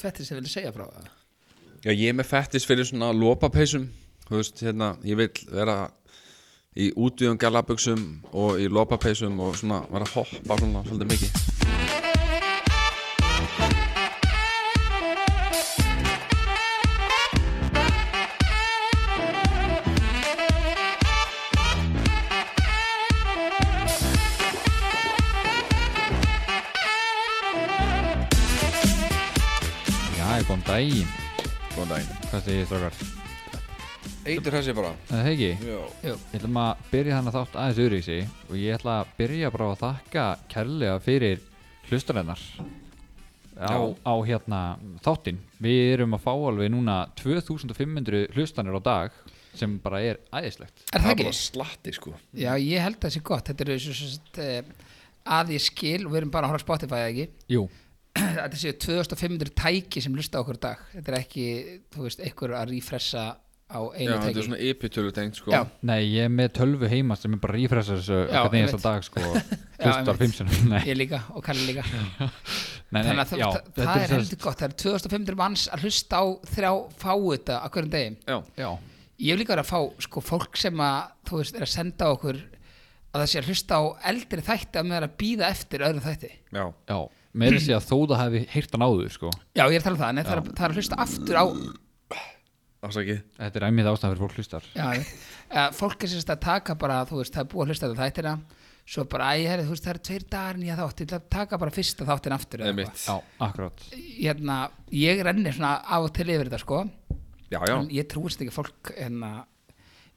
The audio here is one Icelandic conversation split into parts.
fettir sem vilja segja frá það Já, ég er með fettis fyrir svona lopapeysum Þú veist, hérna, ég vil vera í útvíðum galabuxum og í lopapeysum og svona vera að hoppa svona svolítið mikið Já, ég kom daginn Góðan daginn Hvað segir þið strákar? Eitur þessi bara Það er ekki Já Jú, Við ætlum að byrja þannig þátt aðeins öðru í sig og ég ætla að byrja bara á að þakka kærlega fyrir hlustarinnar á, Já. á hérna þáttinn. Við erum að fá alveg núna 2500 hlustanir á dag sem bara er æðislegt. er það er ekki? bara slatti sko Já, ég held að það sé gott Þetta eru svo, svo, svo, að ég skil og við erum bara að horfa á Spotify eða ekki Jú, Þetta séu 2500 tæki sem lusta á okkur í dag Þetta er ekki, þú veist, einhver að refressa á Já, einu þetta tæki er svona ypitölu tengt sko Já, nei, ég er með tölvu heima sem er bara rífressar þessu Já, hvernig einasta einmitt. dag sko einmitt. hlustar fimm sinum. Nei, ég líka og Kalli líka nei, nei, Þannig að það, já, það, þetta það er sem heldur gott Það eru 2500 manns að hlusta á þrjá fáuta á hverjum degi Já, sagt- Já, Ég hef líka verið að fá sko, fólk sem að, þú veist, er að senda okkur að það sé að hlusta á eldri þætti að með er að býða eftir öðrum þætti já já, með þessi að þóða hefði heyrt hann áður sko. Já, ég er að tala um það, en það er, að- það er að hlusta aftur á Ásaki Þetta er æmið ástæðan fyrir fólk hlustar. já, ég veit. Eh, fólk er sérst að taka bara, þú veist, það er búið að hlusta á þættina svo bara, æ, herri, þú veist, það eru tveir dagar nýja þátt, ég ætla að taka bara fyrsta þáttin aftur eða Eða eitthvað. mitt Já, akkurát. hérna, ég renni svona af og til yfir þetta, sko Já, já en ég trúist ekki að fólk hérna,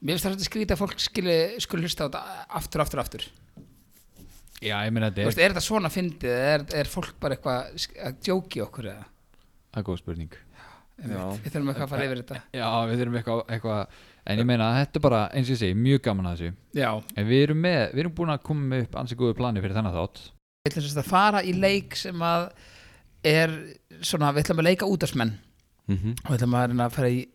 mér finnst það svolítið skrítið að fólk skili, skuli hlusta á þetta aftur, aftur, aftur Já, ég meina Þú þetta er veist, er þetta svona fyndið eða er, er fólk bara eitthvað sk- að djóki okkur eða Það er góð spurning við þurfum eitthvað að fara yfir þetta Já, við þurfum eitthvað, eitthvað En ég meina, þetta er bara, eins og ég segi, mjög gaman að þessu já, En við erum með, við erum búin að koma með upp ansi góðu plani fyrir þennan þátt við ætlum sérst að fara í leik sem að er svona, við ætlum að leika útastmenn Mhm. og við ætlum að reyna að fara í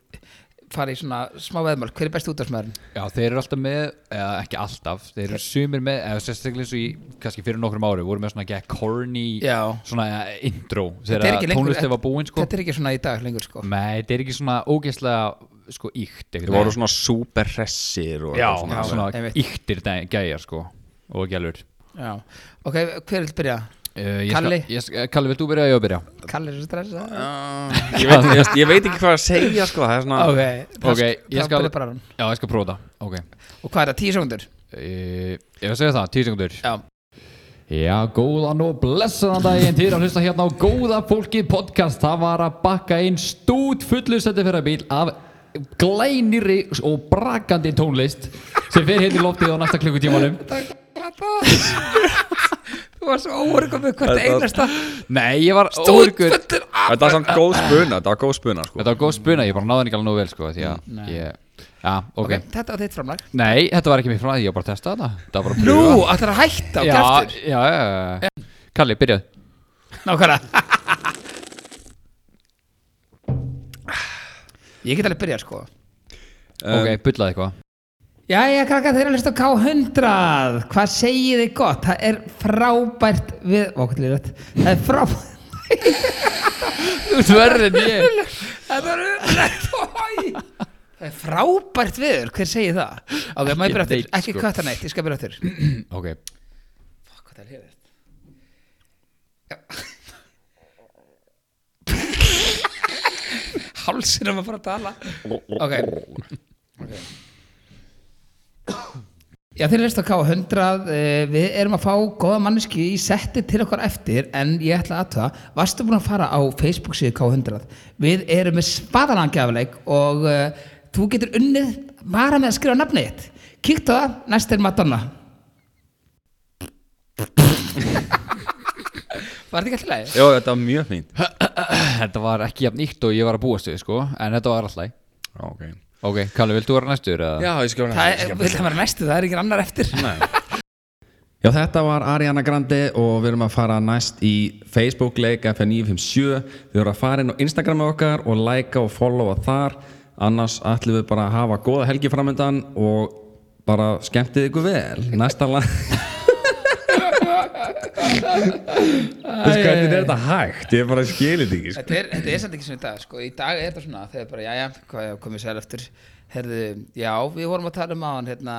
fara í svona smá veðmál, hver er besti útastmæðurinn? Já, þeir eru alltaf með, eða ekki alltaf Þeir eru sumir með, eða sérstaklega eins og í Kannski fyrir nokkrum ári, voru með svona ekki corny Já. Svona eh, intro Þetta er Þegar ekki lengur- tónlistið var búin, sko Þetta er ekki svona í dag lengur sko Nei, þetta er ekki svona ógeðslega, sko, íkt Þeir voru svona super hressir og Já, eitthvað svona, Já, svona einmitt. íktir gæjar, sko Og gælur Já, ok, hver vil byrja? uh, ég Kalli. skal, ég, skal- Kalli, vilt þú byrja að ég að byrja? Kallir þessu stressa Ah, ég, veit, ég, ég veit ekki hvað að segja sko Það er svona Ok, það Ok, sk- ég það skal- byrja bara hann Já, ég skal prófa það Ok Og hvað er það, tíu sekundur? Uh, ég vil segja það, tíu sekundur Já Já, góðan og blessaðan daginn til að hlusta hérna á Góða fólki podcast Það var að bakka inn stút fullu setti fyrir bíl af glænirri og brakandi tónlist sem fer hérna í loftið á næsta klukkutímanum Þú var svo óorgum með hvert Þetta- einasta Nei, ég var óörgur Stúdfullir Þetta er samt góð spuna Þetta var góð spuna sko Þetta var góð spuna, ég bara náði henni ekki alveg nógu vel sko því að Nei. ég Já, ok Ok, þetta var þitt framlag Nei, þetta var ekki mér frá því, ég var bara að testa þetta Þetta var bara að Nú, pröfa ætlar að hætta og Já, kæftur já, já, já Kalli, byrjað Nákvæmlega Ég get alveg byrjað sko Um. Ok, bullaði eitthvað Jæja krakka, þeir eru að hlusta á K100 Hvað segið þið gott? Það er frábært við Ókvæmlega rétt Það er frábært Þú sverðin ég Þetta var umlegt Það er frábært viður, hver segir það? Ok, maður byrja aftur, neitt, ekki sko. kvæta neitt, ég skal byrja aftur Ok, Fuck, hvað það er liðið Hálsinn er maður bara að tala Ok Ok Já, þeir leist á K100, eh, við erum að fá góða manneski í setti til okkar eftir en ég ætla að það, varstu búin að fara á Facebook síðu K100? Við erum með spadanangjafleik og uh, þú getur unnið bara með að skrifa nafnið þitt. Kíktu á það, næst er Madonna. Var þetta ekki alltaf leið? Jó, þetta var mjög fínt Þetta var ekki jafn íkt og ég var að búast við sko En þetta var alltaf Já, ok Ok, Kalli, viltu vera næstur? eða? Já, ég skal vera Það næst, ég er, skal vil vera það vera næstu, það er ekki annar eftir. næst. Já, þetta var Ariana Grande og við erum að fara næst í Facebook-leik FN957 Við erum að fara inn á Instagramið okkar og likea og followa þar Annars ætlum við bara að hafa góða helgi framöndan og bara skemmtið ykkur vel Næsta lag veist hvernig er þetta hægt ég bara skilir þetta ekki sko. Þetta er, þetta er svolítið ekki sem í dag, sko, í dag er þetta svona, þegar bara, jæja, hvað já, komið sér eftir, herðu, já, við vorum að tala um hann, hérna,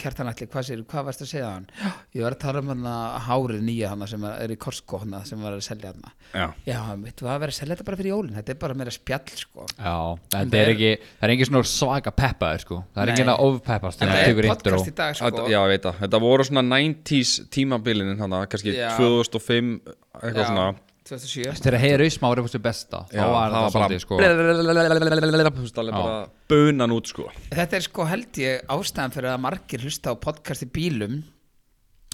kjartanalli, hvað sér, hvað varst að segja hann? Ég var að tala um hann hárið nýja hann sem er í Korsko hann sem var að selja hann. Já. Já, mitt, var að vera að selja þetta bara fyrir jólin, þetta er bara meira spjall, sko. Já, En þetta er er- ekki, það er engin svona svaka peppaður sko Það er Nei. engin að ofpeppast En þegar það tekur er intro. podcast í dag, Þetta- sko. já, ég veit það, þetta voru svona 90s tímabilin þannig kannski Já. 2005 eitthvað svona svona. 2007. Þegar heyri Ísma var eitthvað besta Þá Já, var það það bara- svolítið sko Þú veist, alveg bara bunan út sko Þetta er sko held ég ástæðan fyrir að margir hlusta á podcast í bílum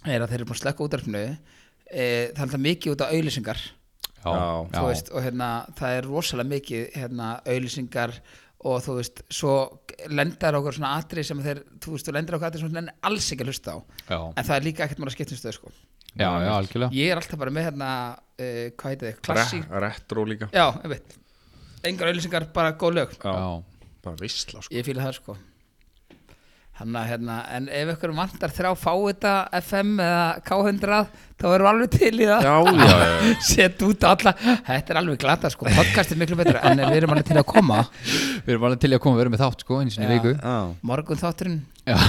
er að þeir eru búin að slekka útarfinu e, það er alltaf mikið út á auðlýsingar Já, Já. þú veist, og hérna, það er rosalega mikið hérna, auðlýsingar og þú veist, svo lendar okkur svona atrið sem þeir, þú veist, þú lendar okkur atrið sem þeir alls ekki að hlusta á Já. en það er líka ekkert maður að skipta um stöð sko. já, já, algjörlega ég er alltaf bara með hérna, uh, hvað heitir þið, klassi Re- Retro líka já, ég veit, engar auðlýsingar bara góð lög, Já, sko. bara visla sko ég fýla það sko Hanna, hérna, en ef ykkur vantar þrjá fáita FM eða K100 þá erum við alveg til í það Já, já, já set út á alla þetta er alveg glata sko, podcast er miklu betra en við erum alveg til að koma Við erum alveg til í að koma, við erum með þátt sko, eins og Já. í viku Já. morgun þátturinn, Já,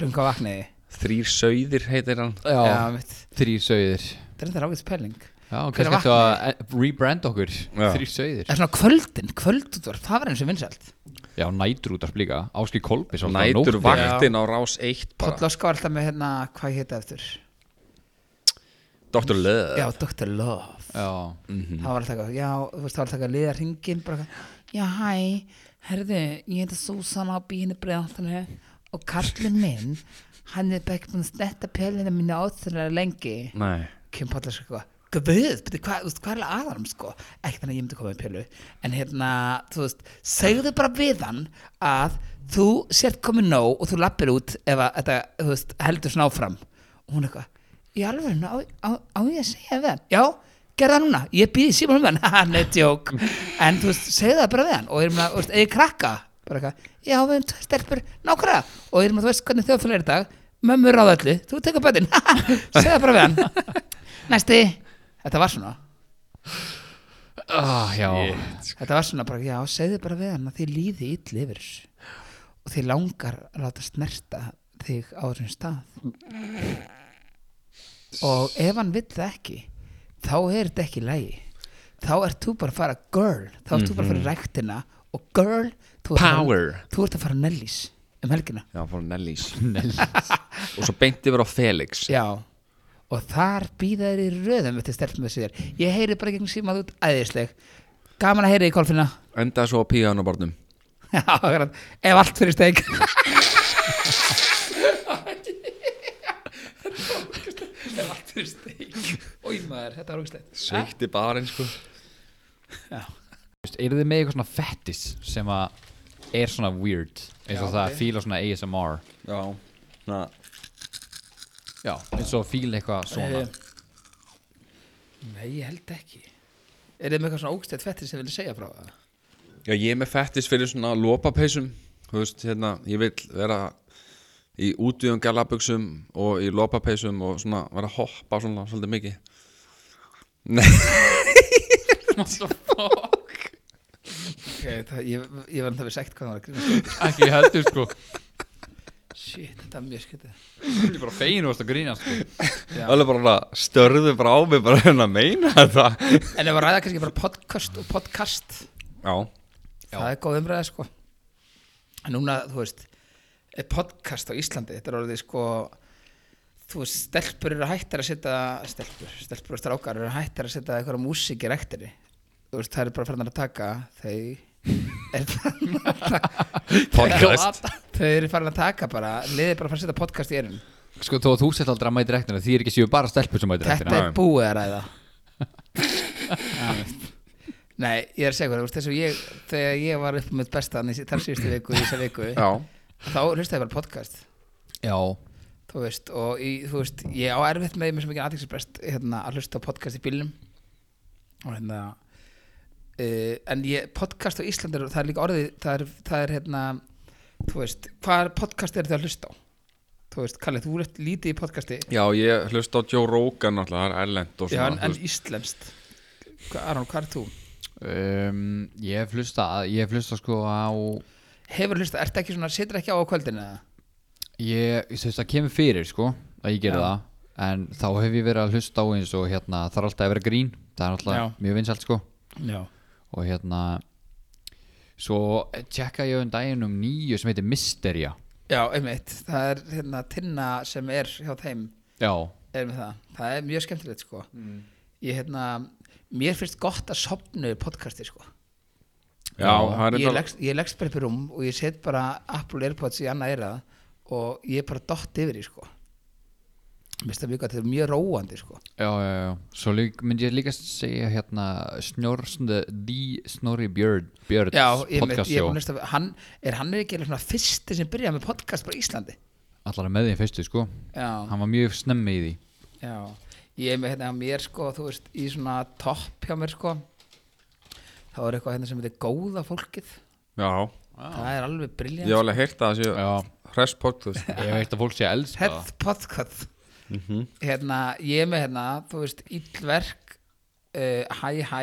klunga vakniði Þrýr sauðir heitir hann já, mitt, þrýr sauðir þetta er þetta ráðið spelling Já, Hver kannski ættu að eh, rebrand okkur Já. Þrýr sauðir en svona kvöldin, kvöldutvarp, það var eins og vinsælt Já, nætrútarp líka, Áskir Kolbis Nætur vaktin á rás 1 bara Páll Óskar var alltaf með hérna, hvað heita eftir Dr. já, Löð Dr. Love Já, það var alltaf, eitthvað, já, þú veist, það var alltaf að liða hringin, bara, eitthvað, já, hæ herðu, ég heita Susanna og býðinu bregðaltanu og kallin minn hann er bara ekki búin að snetta pjölina mínu áþurlega lengi Nei Kim Pallar sko Guð, beti, hvað, þú veist, hvað er alveg aðanum sko ekki þannig að ég myndi koma með pjölu en hérna, þú veist, segðu bara við hann að þú sért komið nóg og þú lappir út ef að þetta, þú veist, heldur svona áfram og hún eitthvað, í alveg á, á, á ég að segja við hann, já gerða það núna, ég býði síma um hann haha, neittjók, en þú veist, segðu það bara við hann og ég meina, þú veist, eða ég krakka bara eitthvað, já, við erum tvær stelpur, nákvæmlega og ég meina, þú veist hvernig þjóðfélag er í dag mömmur á öllu, þú tekur bötin segðu það bara við hann næsti, þetta var svona ah, já þetta var svona bara, já, segðu bara við hann að þið líði illa yfir þessu. og þið langar að láta snerta þig á þessum stað og ef hann vill það ekki þá er þetta ekki í lagi þá ert þú bara að fara girl þá ert þú bara að fara í ræktina og girl, þú ert, að, Power fara- þú ert að fara á Nellis um helgina Já, fór Nellís Og svo beinti yfir á Felix já, og þar býða þér í röðum eftir stelpum þessu þér ég heyri bara gegn síma þú ert æðisleg gaman að heyri í kolfina Endaði svo á píanubarnum Já, akkurat. ef allt fyrir steik ef allt fyrir steik Ói maður, þetta var ógæslegt Sveikti barinn sko Eru þið með eitthvað svona fettis sem að er svona weird eins og Já, það ok. að fíla svona ASMR Já Na. Já, eins og fíla eitthvað svona Eh, Nei, ég held ekki Er þið með eitthvað svona ógæslegt fettir sem vilja segja frá það? Já, ég er með fettis fyrir svona lopapeysum Þú veist, hérna, ég vil vera í útvíðum galaböksum og í lopapeysum og svona vera að hoppa svona svolítið mikið Okay, það ég, ég var það við sagt hvað það var að grínast um. Ekki heldur sko Shit, þetta er mjög skytið Ég er bara fegin og varst að grína sko Já. Það er bara svona, störðu bara á mig bara hérna að meina þetta En ef að ræða kannski bara podcast og podcast Já, Það er góð umræða sko En núna, þú veist er podcast á Íslandi, þetta er orðið sko þú veist, stelpur eru hættar að setja stelpur, stelpur og strákar eru hættar að setja eitthvað músík í rektinni þú veist, það eru bara farnar að taka þau er farnar að taka podcast þau eru farnar að taka bara, liðið er bara að fara að setja podcast í erum Sko þó að þú sett aldrei að mæti rektina því er ekki séu bara stelpur sem mæti þetta rektina er búið að ræða Já, veist. Nei, ég er að segja hvað, þú veist, þess að ég þegar ég var upp með bestan í þar síðustu viku, í þessa viku Já, þá hlustaði ég bara á podcast Já, þú veist, og í, þú veist, ég á erfitt með mér sem ekki aðeinsbrest hérna, að hlusta á podcast í bílnum og hérna uh, en ég, podcast á Íslandi er- það er líka orðið, það er, það er hérna þú veist, hvað podcast er þið að hlusta á þú veist, Kalli, þú ert lítið í podcasti Já, ég hlusta á Joe Rogan náttúrulega, það er erlend og já, en, svona en íslenskt Hva- Aron, hvað er þú? um, Ég hef hlusta, ég hef hlusta sko á Hefur hlusta, ert ekki svona, situr ekki á á kvöldinu eða? Ég, þú veist, það kemur fyrir sko að ég gera Já. það En þá hef ég verið að hlusta á eins og hérna Það er alltaf að vera grín Það er alltaf Já. mjög vinsælt sko Já, Og hérna Svo tjekka ég um daginn um nýju sem heitir Mysteria einmitt Það er hérna tinna sem er hjá þeim Já er með það, það er mjög skemmtilegt sko Ég hérna, mér finnst gott að sopna í podcasti sko Já, það er ég, þetta leggst, ég leggst bara upp í rúm og ég set bara Apple Airpods í annað eirað og ég er bara dott yfir í sko Mér finnst það mjög gott, þetta er mjög róandi sko Já, já, já, svo lík, myndi ég líka segja hérna Snorsnö, The Snorri Björn Björns Já, ég með, ég podcastjó með næsta, hann, er hann er ekki eiginlega svona fyrsti sem byrjaði með podcast bara í Íslandi Allar með því fyrstu sko Já, Hann var mjög snemmi í því já Ég er með hérna, mér sko, þú veist, í svona topp hjá mér sko þá er eitthvað hérna sem heitir góða fólkið Já, það er alveg ég hef briljant alveg heyrt það að séu Já, Hress podcast ég veit að fólk sé að elska það Heath podcast Hérna, ég er með hérna, þú veist, illverk uh, Hæ hæ,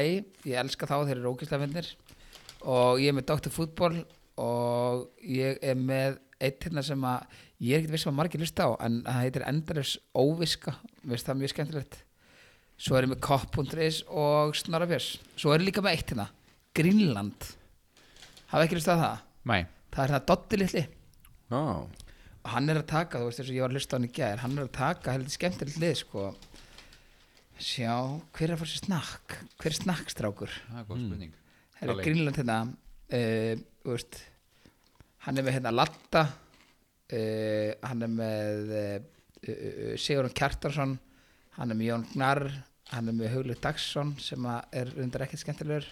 ég elska þá þeir eru ógislafindir og ég er með Dr. Fútbol og ég er með eitt hérna sem að ég er ekkert viss sem að margir hlusta á en það heitir Endalus Óviska mér finnst það mjög skemmtilegt svo er ég með Kopp.is og Snorabjörs svo er ég líka með eitt hérna, Grínland hafa ekki hlustað á það Nei, það er hérna Dotti litli Já, og hann er að taka, þú veist eins og ég var að hlusta á hann í gær hann er að taka heldur skemmtilegt lið sko. sjá, hver er að fara sér snakk hver er snakkstrákur það er góð spurning það er Alveg. Grínland hérna uh, veist, hann er með hérna Latta uh, hann er með uh, uh, Sigurðan Kjartarsson hann er með Jón Gnar hann er með Haugleik Dagsson sem að er undir ekkert skemmtilegur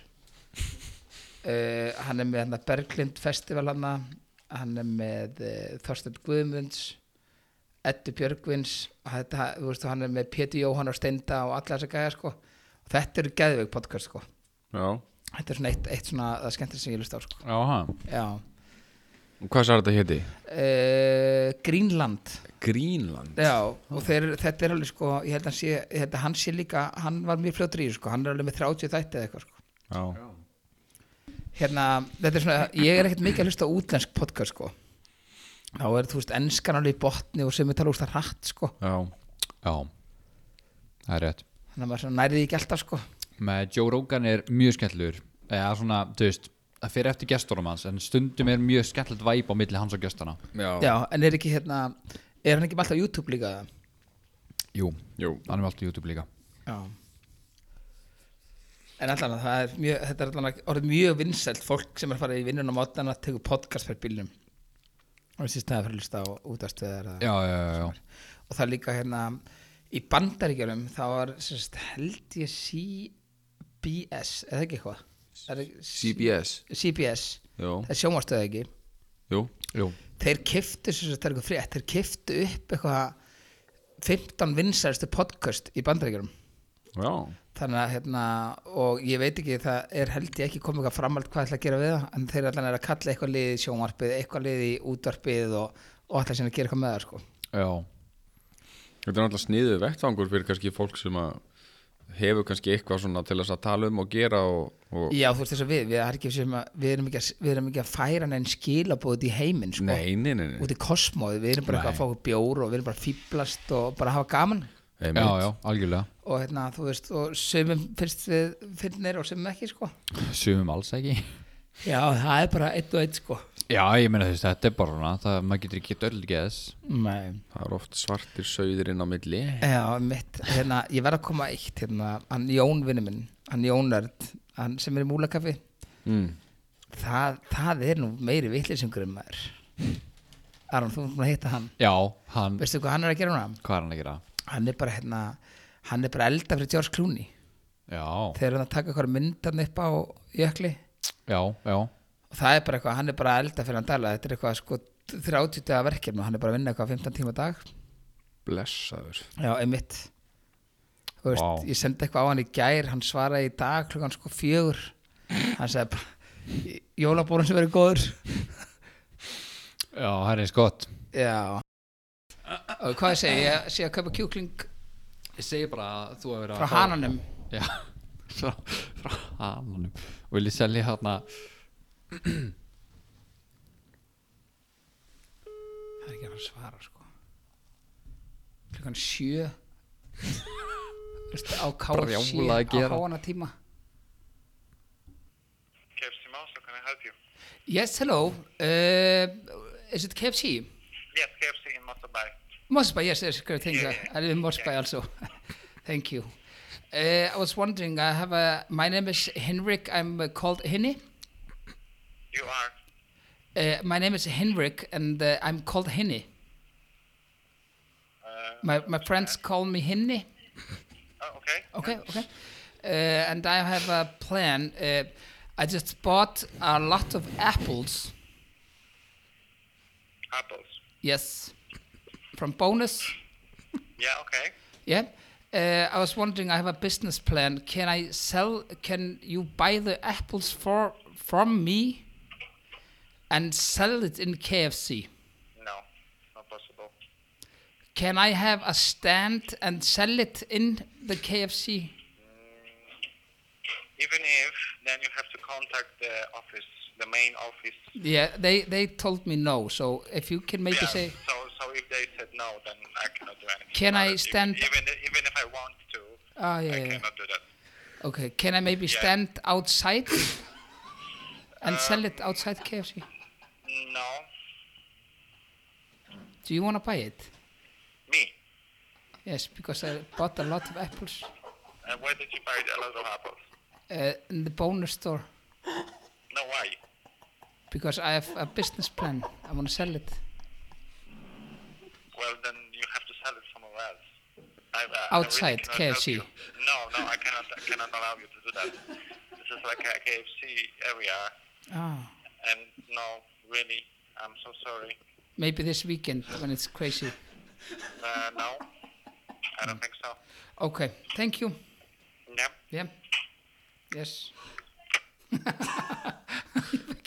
uh, hann er með hérna Berglind Festival hana hann er með uh, Þorstein Guðmunds Eddu Björgvins og þetta, þú veist, og hann er með Pétur Jóhann og Steinda og alla þessa gæja sko og þetta eru geðveik podcast sko já Þetta er svona eitt, eitt svona það skemmtir sem ég lust á sko. Já, hann Já Og Hvað sér þetta héti? uh, Grínland Greenland Já, og þeir, þetta er alveg sko ég held að hann sé, ég held að hann sé líka hann var mjög fljótur í þessu, sko, hann er alveg með 30 þætti eða eitthvað sko. Já, Hérna, þetta er svona, ég er ekkert mikið að hlusta á útlensk podcast sko þá er þú veist enskan alveg í botni og sem er tala úr það hratt sko já Já, það er rétt þannig að maður svona nærði ekki alltaf sko Með Joe Rogan er mjög skemmtlur eða svona, þú veist, það fyrir eftir gestunum hans en stundum er mjög skemmtlegt væp á milli hans og gestana Já, Já, en er ekki hérna, er hann ekki með alltaf á YouTube líka það? Jú, jú hann er með allt í YouTube líka Já En allan að það er mjög, þetta er allan að orðið mjög vinsælt fólk sem er að fara í vinnun á mótana að teka podcast fyrir bílnum og þessi staði fyrir að hlusta á útastöðar Já, já, já, já og það er líka hérna í bandaríkjörum þá var sérst, held ég CBS eða ekki eitthvað Er ekki- CBS CBS, Jú, það er sjómastöð ekki jú Jú, þeir kiftu, sérst, það er eitthvað frétt þeir kiftu upp eitthvað 15 vinsælustu podcast í bandaríkjörum Já, þannig að hérna og ég veit ekki, það er held ég ekki komið eitthvað framhald hvað ætla að gera við það en þeir allan er að kalla eitthvað liði í sjónvarpið eitthvað liði í útvarpið og, og alltaf sinna að gera eitthvað með það sko já, þetta er náttúrulega sniðu vettfangur fyrir kannski fólk sem að hefur kannski eitthvað svona til þess að tala um og gera og, og já þú veist þess að við, við, það er ekki sem að, við, erum ekki að, við erum ekki að færa neinn skilabóð út í heiminn sko Nei, nei, nei, nei. út í kosmóð, við erum bara eitthvað að fá okkur bjór og við erum bara að fýblast og bara að hafa gaman Einmitt. já, já, algjörlega og hérna þú veist, og sömum finnst við finnir og sömum ekki sko Sumum alls ekki já það er bara eitt og eitt sko Já, ég meina þú veist, þetta er bara svona það, maður getur ekki gett öll geðs nei Það er oft svartir sögðir inn á milli Já, mitt, hérna, ég verð að koma eitt hérna, hann Jón vinnu minn hann Jón Örd, hann sem er í Múlakafi mm. það, það er nú meiri vitlisingur en maður Aron, þú erum að hitta hann Já, hann, veistu hvað hann er að gera núna? hvað er hann að gera? Hann er bara, hérna, hann er bara að elda fyrir George Clooney Já, þegar hann að taka eitthvað myndan upp á jökli já, já og það er bara eitthvað, hann er bara að elda fyrir hann dala þetta er eitthvað sko 30 dagar verkefni og hann er bara að vinna eitthvað 15 tíma á dag Blessaður Já, einmitt Þú veist, Vá. ég sendi eitthvað á hann í gær hann svaraði í dag klukkan sko fjögur hann sagði bara jólabórun sem verið góður Já, það er eins gott Já Og Hvað ég segi, ég sé að kaupa kjúkling Ég segi bara að þú hefur verið frá að fá- hananum Já, frá, frá hananum Og vil ég selja hérna Það er ekki hann að svara sko Klukkan sjö Veistu, á KFC Brjálað að gera. á háana tíma KFC Mouse, how can I help you? Yes, hello uh, Is it KFC? Yes, KFC in Masabai. Mosby, yes, yes, great. Thank you. Yeah, yeah. I live in Mosby also. Thank you. Uh, I was wondering, I have a, my name is Henrik, I'm uh, called Henny. You are? Uh, my name is Henrik and uh, I'm called Henny. Uh, My, my friends call me Henny. oh, okay. Okay, okay. Uh, and I have a plan. Uh, I just bought a lot of apples. Apples. Yes. From Bonus. Yeah, okay. Yeah. Uh, I was wondering, I have a business plan. Can I sell, can you buy the apples for from me and sell it in KFC? No, not possible. Can I have a stand and sell it in the KFC? Even if, then you have to contact the office, the main office. Yeah, they, they told me no. So if you can maybe yeah, say, so, so if they said no, then I cannot do anything. Can about I it. stand- Even, even, even if I want to, Ah, yeah, I yeah. cannot do that. okay, can I maybe Yeah. Uh, stand outside and sell it outside KFC? No, Do you want to buy it? me. Yes, because I bought a lot of apples Uh, where did you buy a lot of apples? uh, in the bonus store. No, why? because I have a business plan. I want to sell it. Well, then you have to sell it somewhere else. I, uh, Outside I really cannot help KFC. you. No, no, I cannot, I cannot allow you to do that. This is like a KFC area, Ah. and no, really, I'm so sorry. Maybe this weekend when it's crazy. Uh, no, I don't think so. Okay, thank you. Yeah. Yeah. Yes.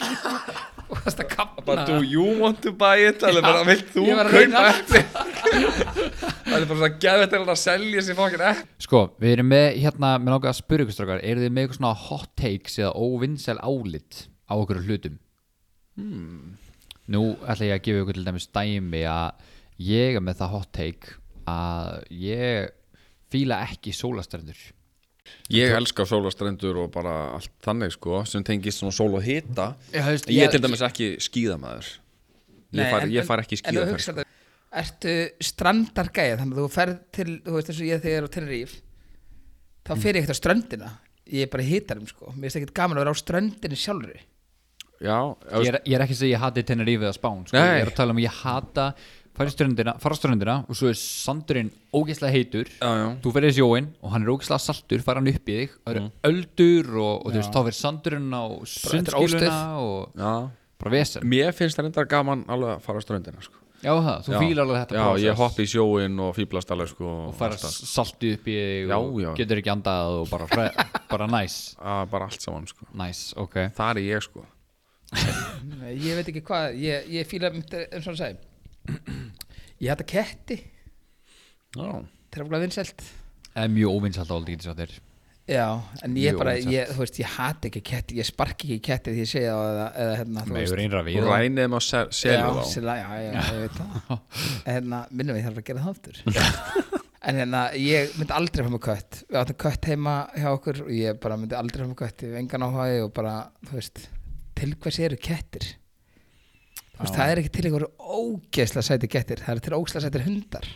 Þú varst að kapna. But do you want to buy it? Alveg bara, vilt þú ég var að reyna kaupa allt. eftir? Það er bara svona gæðið til að selja sér fokkin eftir Sko, við erum með hérna, með langar að spyrja ykkur strákar Eru þið með eitthvað svona hot takes eða óvinnsel álit á okkur hlutum? Hmm. Nú ætla ég að gefa ykkur til dæmis dæmi að ég er með það hot take að ég fíla ekki sólastrendur Ég elska sólastrendur og bara allt þannig sko sem tengist svona sól og hita Já, þú veist, Ég er ég- til dæmis ekki skíðamaður Ég, far, ég far ekki í skíðaferð sko. skýðaferð. Ertu strandargæð, þannig að þú ferð til, þú veist eins og ég þegar ég er á Tenerife, þá Mm. fer ég ekkert á ströndina. Ég er bara hýtarum sko. Mér finnst ekkert gaman að vera á ströndinu sjálfri. Já, ég er, ég er ekki að segja ég hati Tenerife eða Spán sko. Nei. Ég er að tala um að ég hata fara á ströndina, fara á ströndina og svo er sandurinn ógeðslega heitur Já, já. Mm. þú ferðið sjóin og hann er ógeðslega saltur fara hann upp í þig, það eru öldur og, og þú veist, þá verður sandurinn á þetta er óstuð. sundskiluna og já. bara vesen Mér finnst það reyndar gaman alveg að fara á ströndina sko. Já, það, þú fílar alveg þetta Já, process. ég hoppa í sjóin og fýblast alveg sko, og fara allt það. saltu upp í þig Já, og já. getur ekki andað og bara, fre- bara næs Að Bara allt saman sko. næs, ok Það er ég sko Nei, ég veit ekki hvað, ég, ég fíla um eins og hann sagði ég hætta ketti Já trefla vinsælt það er mjög óvinnsalt áldi getur svo þér já, en ég Mjög bara, vinsælt. ég, þú veist, ég hætta ekki ketti ég sparki ekki ketti því ég segja það eða, eða hérna, þú meður einra við það. Rænið maður sel, selja já, þá sila, já, já, ég veit það hérna, minnum við þarf að gera það aftur en hérna, ég myndi aldrei fara með kött við áttum kött heima hjá okkur og ég bara myndi aldrei fara með kött, ég hef engan áhugaði og bara, þú veist, til hvers eru kettir Þú veist, það er ekki til einhverju ógeðslega sæti kettir það er til ógeðslega sætir hundar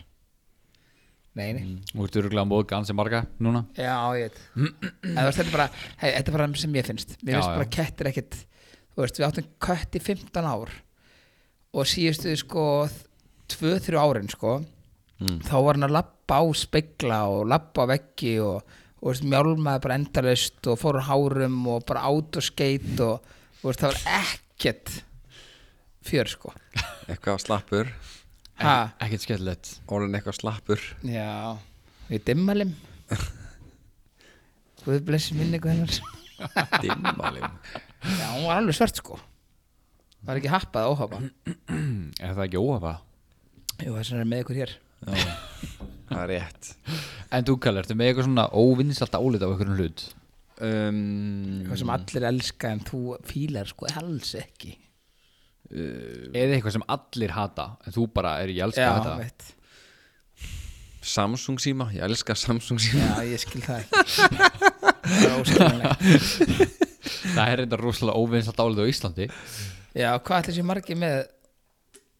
nei, nei Þú ert öruglega móð gansi marga núna já, ég veit En þú veist, þetta er bara, hei, þetta er bara sem ég finnst mér Já, finnst já. bara kettir ekkit þú veist, við áttum kött í 15 ár og síðustu sko 2-3 árin sko Mm. þá var hann að labba á spegla og labba á veggi og, og veist, mjálmaði bara endalaust og fór á hárum og bara át og skeitt og þú veist, það var ekkert fjör sko Eitthvað slappur ha, ekkert skellilegt Orðin eitthvað slappur Já, við dimmalim Guð blessi minningu hennar Já, Dimmalim hún Mm, var alveg svört sko Var ekki happað að óhafa er það ekki óhafa? Jú, þess vegna er með ykkur hér það er rétt En þú kallar, ertu með eitthvað svona óvinnsalt álið á einhverjum hlut? um, Hvað sem allir elska en þú fílar sko alls ekki Eða eitthvað sem allir hata En þú bara er ég elska þetta Sko, veit Samsung síma, ég elska Samsung síma Já, ég skil það ekki Það er óskiljanlegt Það er reynda rosalega óvinnsalt álið á Íslandi Já, hvað ætlir sér margir með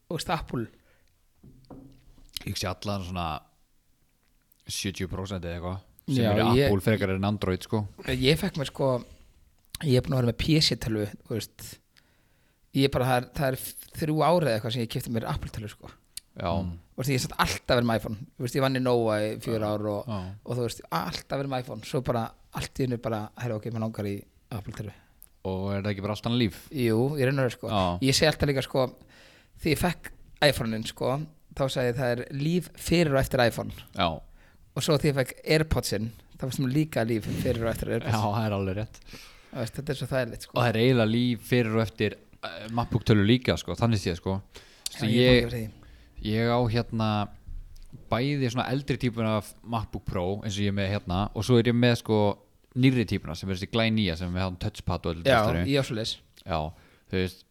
Þú veist, Apple Ég hugsi allan svona 70% eða eitthvað sem Já, er ég- Apple frekar en Android sko Ég fekk mér sko Ég er búin að vera með PC-tölvu þú veist. Ég er bara, það er, það er þrjú árið eitthvað sem ég kipti mér Apple-tölvu sko Já, Þú veist, ég satt alltaf verið með iPhone Þú veist, ég vann í Nova í fjör ár og, Já. og þú veist, alltaf verið með iPhone Svo bara, allt í hennu bara, herra ok, maður langar í Apple-tölvu og er það ekki bara allt annað líf? Jú, ég reynar það sko Já. Ég segi alltaf líka sko Því ég fekk iPhone-in sko Þá sagði ég það er líf fyrir og eftir iPhone Já, Og svo því ég fekk Airpods-in Það fannst mér líka líf fyrir og eftir já, Airpods það er alveg rétt Þú veist, Þetta er svo þægilegt Og sko það er eiginlega líf fyrir og eftir uh, mappbúktölu líka sko, þannig séð sko Svo Já, ég er búinn að gera ég, því. ég á hérna bæði svona eldri típun af MacBook Pro eins og ég er með hérna og svo er ég með sko nýri típuna sem er þessi glænýja sem við hafum touchpad og öllu Já, drastlinu. ég á svo leis Já, þú veist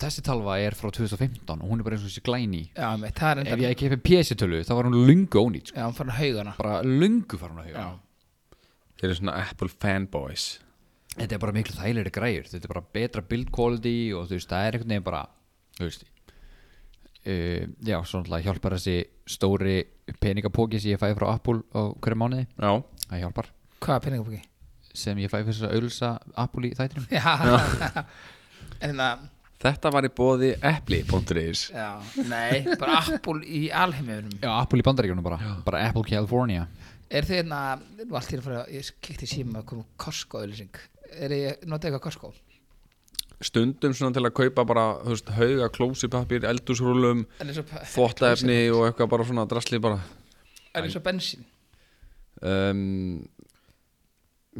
Þessi talva er frá 2015 og hún er bara eins og þessi glæni Já, með, það er Ef enda ég kefði PC-tölu þá var hún lungu ónýtt sko. Já, hann fann að hauga hana Bara lungu fara hún að huga Þeir eru svona Apple fanboys Þetta er bara miklu þægilegri græjur Þetta er bara betra build quality og þú veist, það er einhvern veginn bara Þú veist uh, Já, svo náttúrulega hjálpar þessi stóri peningapóki sem ég fæði frá Apple á hverju mánuði Já, Það hjálpar Hvað er peningabóki? sem ég fæði fyrir þess að auðlsa Apple í þættinum Já, en hérna, það þetta var í bóði epli.is Já, nei, bara Apple í alheiminum Já, Apple í bandaríkjunum bara Bara Apple California Er þið hérna, nú allt í að fara Ég kikti síma að koma Costco-auðlýsing Er ég, notið eitthvað Costco? Stundum svona til að kaupa bara þú veist, hauga klósipapír, eldúsrúlum En eins og þvottaefni og eitthvað bara svona drasli bara En eins og bensín um,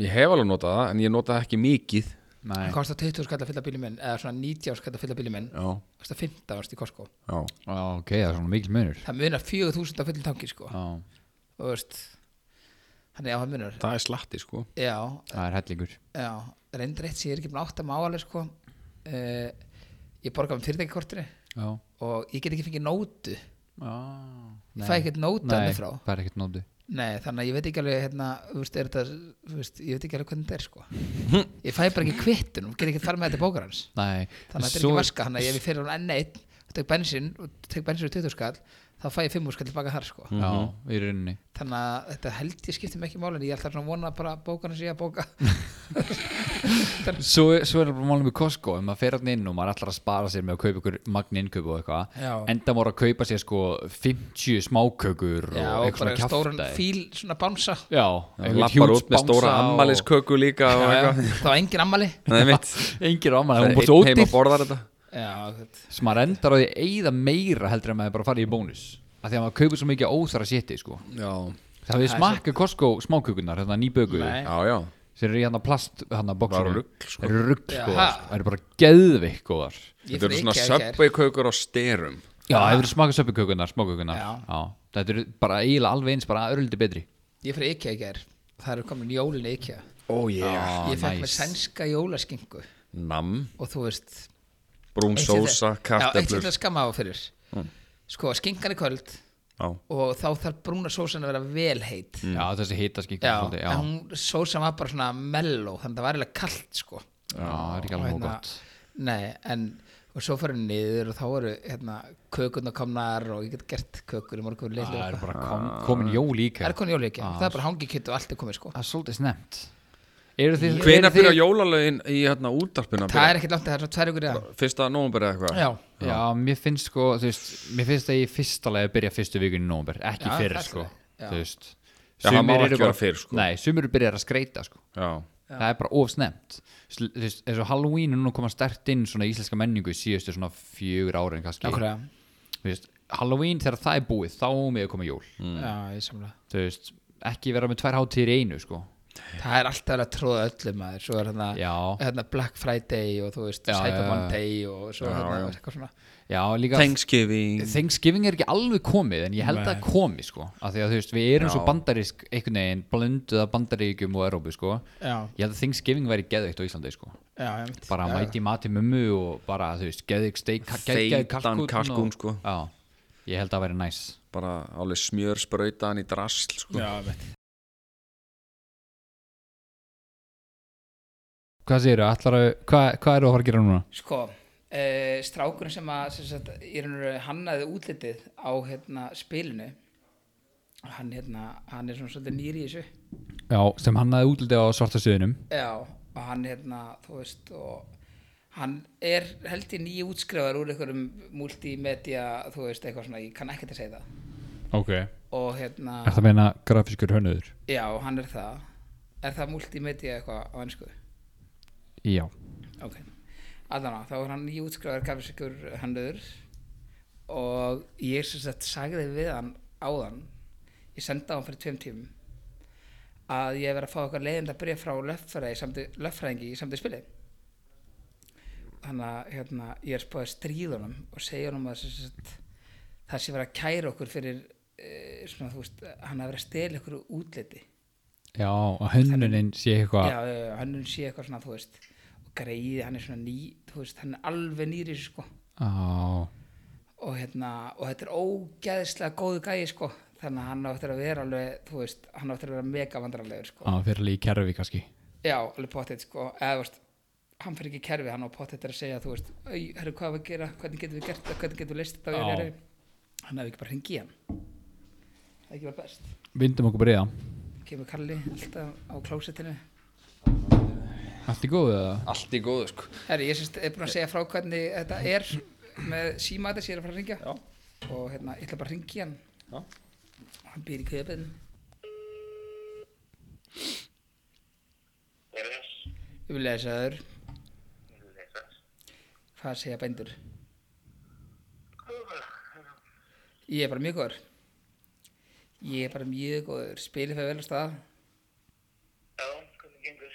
Ég hef alveg notað það en ég notað það ekki mikið Nei, Það kostar 20 skall að fylla bílum minn eða svona 90 skall að fylla bílum minn Já, kostar 15 ást í Costco já Já, ok, það er svona mikil munur Það munar 4000 að fylla tanki sko Já, og veist þannig að það munar Það er slatti sko Já, það er hellingur já, reyndar eitt sem ég er ekki búin átt að máli sko uh, ég borga um fyrirtækikortinu Já, og ég get ekki fengið nótu ég já fæ ekkert nótu Nei, henni frá það er ekkert nóti Nei, þannig að ég veit ekki alveg hérna, þú veist, er þetta, þú veist, ég veit ekki alveg hvernig þetta er sko ég fæ bara ekki kvittun og get ekki að fara með þetta bókar hans Nei, þannig að þetta er svo- ekki vaska þannig að ef ég fyrir hún enn einn og tek bensín og tek bensín og 20 skall þá fæ ég 5 skall tilbaka þar sko Já, í rauninni þannig að þetta held ég skipti mig ekki máli en ég er alltaf svona að vona bara að bókana sé að bóka Svo, svo er það bara málum í Costco ef maður fer hann inn og maður ætlar að spara sér með að kaupa ykkur magni innkaup og Já. eitthvað enda maður að kaupa sér sko 50 smákökur já og og eitthvað bara svona stóran kjafta fíl svona bánsa Já, Lappar út með stóra ammælisköku líka og eitthvað það var engin ammali Það er mitt Engir ammæli, Það hún er búið svo einn heima ódýr borðar þetta já, þetta- sem maður endar á því að eyða meira heldur en maður bara farið í bónus af því að maður kaupir svo mikið óþara sétti sko Já, Það við smakka Costco smákökunar, hérna nýböku Nei. já, já sem eru í hérna plast, hérna bóksum Bara rugl, sko. eru rugg sko, Jaha. það eru bara geðvik góðar ég Þetta fór eru í svona IKEA í gær. söpbeikökur á styrum Já, það eru smaka söpjukökunar, smákökunar Já. Þetta eru bara eiginlega alveg eins, bara örlítið betri ég fyrir IKEA í ger það eru komin jólin í IKEA Ó, oh, yeah ah, ég fekk með nice. sænska jólaskingu Nam, og þú veist Um brún eitt sósa, sem- já, eitt sem kartöflur þetta skamma á fyrir Mm. sko, skinkan er kvöld Já, og þá þarf brúna sósan að vera vel heitt Mm. Já, þessi hita skinkur Já, Mm, svolítið, já. en hún sósa var bara svona mellow þannig að það var eiginlega kalt sko já, það er ekki alveg Hérna, hérna. gott Nei, en og svo fyrir niður og þá eru hérna, kökurna komnar og ég get gert kökur í morgun Það leiðilega er eitthvað. bara kom, Ah. komin jól líka Það er konið jólíkja, það er bara hangikett og allt er komið sko Það er svolítið snemt Eru þið Hvenær eru þið- byrja jólalögin í hérna útarpinu? Það er ekkert langt, það er svona tvær ykkur eða Fyrsta nómur eða eitthvað? Já, Já, mér finnst sko, þú veist Mér finnst það í fyrsta lagi að byrja fyrstu vikun í nómber Ekki Já, fyrir það er sko, alveg, já. þú veist Já, það má Sumir ekki eru vera bara- fyrr, sko. Nei, sumir eru byrjar að skreita sko Já. það er bara of snemt Sl- þú veist, eins og Halloween er núna koma stert inn svona í íslenska menningu í síðustu svona fjögur árin kannski nákvæmlega Þú veist, Halloween þegar það er búið þá með að koma jól Mm. Já, ég samlega Þú veist, ekki vera með tvær hátíðir í einu sko. það er alltaf verið að tróða öllum maður svo er hérna, Já. hérna Black Friday og þú veist Já, Cyber já, já. Monday og svo Já, hérna, já. eitthvað svona Já, líka Thanksgiving Thanksgiving er ekki alveg komið en ég held að það komi sko af því að þú veist við erum Já. svo bandarisk einhvern veginn blönduð af bandaríkjum og Európu sko Já. ég held að Thanksgiving væri geðveikt á Íslandi sko já, einmitt. bara Já. mæti mati mömmu og bara þú veist geðveik steik ka- geggjaður Feitan kalkúnn kalkún, og- sko. Já, ég held að það væri næs bara alveg smjör spröytan í drasl sko. Já, einmitt. Hvað séru, ætlar að, hvað, hvað eru að fara að gera núna? Sko, uh, strákurinn sem að sem sagt, í raun og veru hannaði útlitið á hérna, spilinu hann, hérna, hann er svona svolítið nýri í þessu Já, sem hann hafði útlitið á svarta suðinum Já, og hann hérna, þú veist og hann er held ég nýju útskrifar úr einhverjum multimedia, þú veist, eitthvað svona ég kann ekkert að segja það Ok Er og hérna, það að meina grafiskur hönnuður? já, hann er það er það multimedia eitthvað á ennsku? Já ok allan á, þá er hann nýjútskráður kafisíkur hannöður og ég sem sagt sagði við hann áðan ég sendi á hann fyrir tveim tímum að ég hef verið að fá eitthvað leiðinda bref frá löffræði samti, löffræðingi í samtid spili þannig að hérna, ég er spáðið stríðunum og segja honum að sem sagt, það sé verið að kæra okkur fyrir e, svona, þú veist, hann hafi verið að stela ykkur útliti Já, að hönnunin sé eitthvað já, já, já, hann sé eitthvað svona, þú veist og greiði, hann er svona ný, þú veist hann er alveg nýri, sko Já, og hérna, og þetta er ógeðslega góðu gæi, sko þannig að hann áttir að vera alveg, þú veist hann áttir að vera mega vandrarlegur, sko að fyrir alveg í kerfi kannski já, alveg pottet, sko, eða, þú veist hann fyrir ekki í kerfi, hann á pottet er að segja, þú veist "Æ, herru, hvað á að gera, hvernig getum við gert það hvernig getum við leist þetta, Já. og ég er hann hefði ekki bara hringi hann það er ekki bara best, Vindum okkur bara í það kemur Kalli alltaf á klósettinu Allt í góðu eða? allt í góðu sko. Herri, ég sérst, er búin að segja frá hvernig þetta er með síma þess ég er að fara að ringja og hérna, ég ætla bara að ringja hann Já. hann býr í köpinn Er þess? umlegaðsöður, Er þess? hvað segja bændur ég er bara mjög góður ég er bara mjög góður spilið fyrir vel á stað Já, hvernig gengur?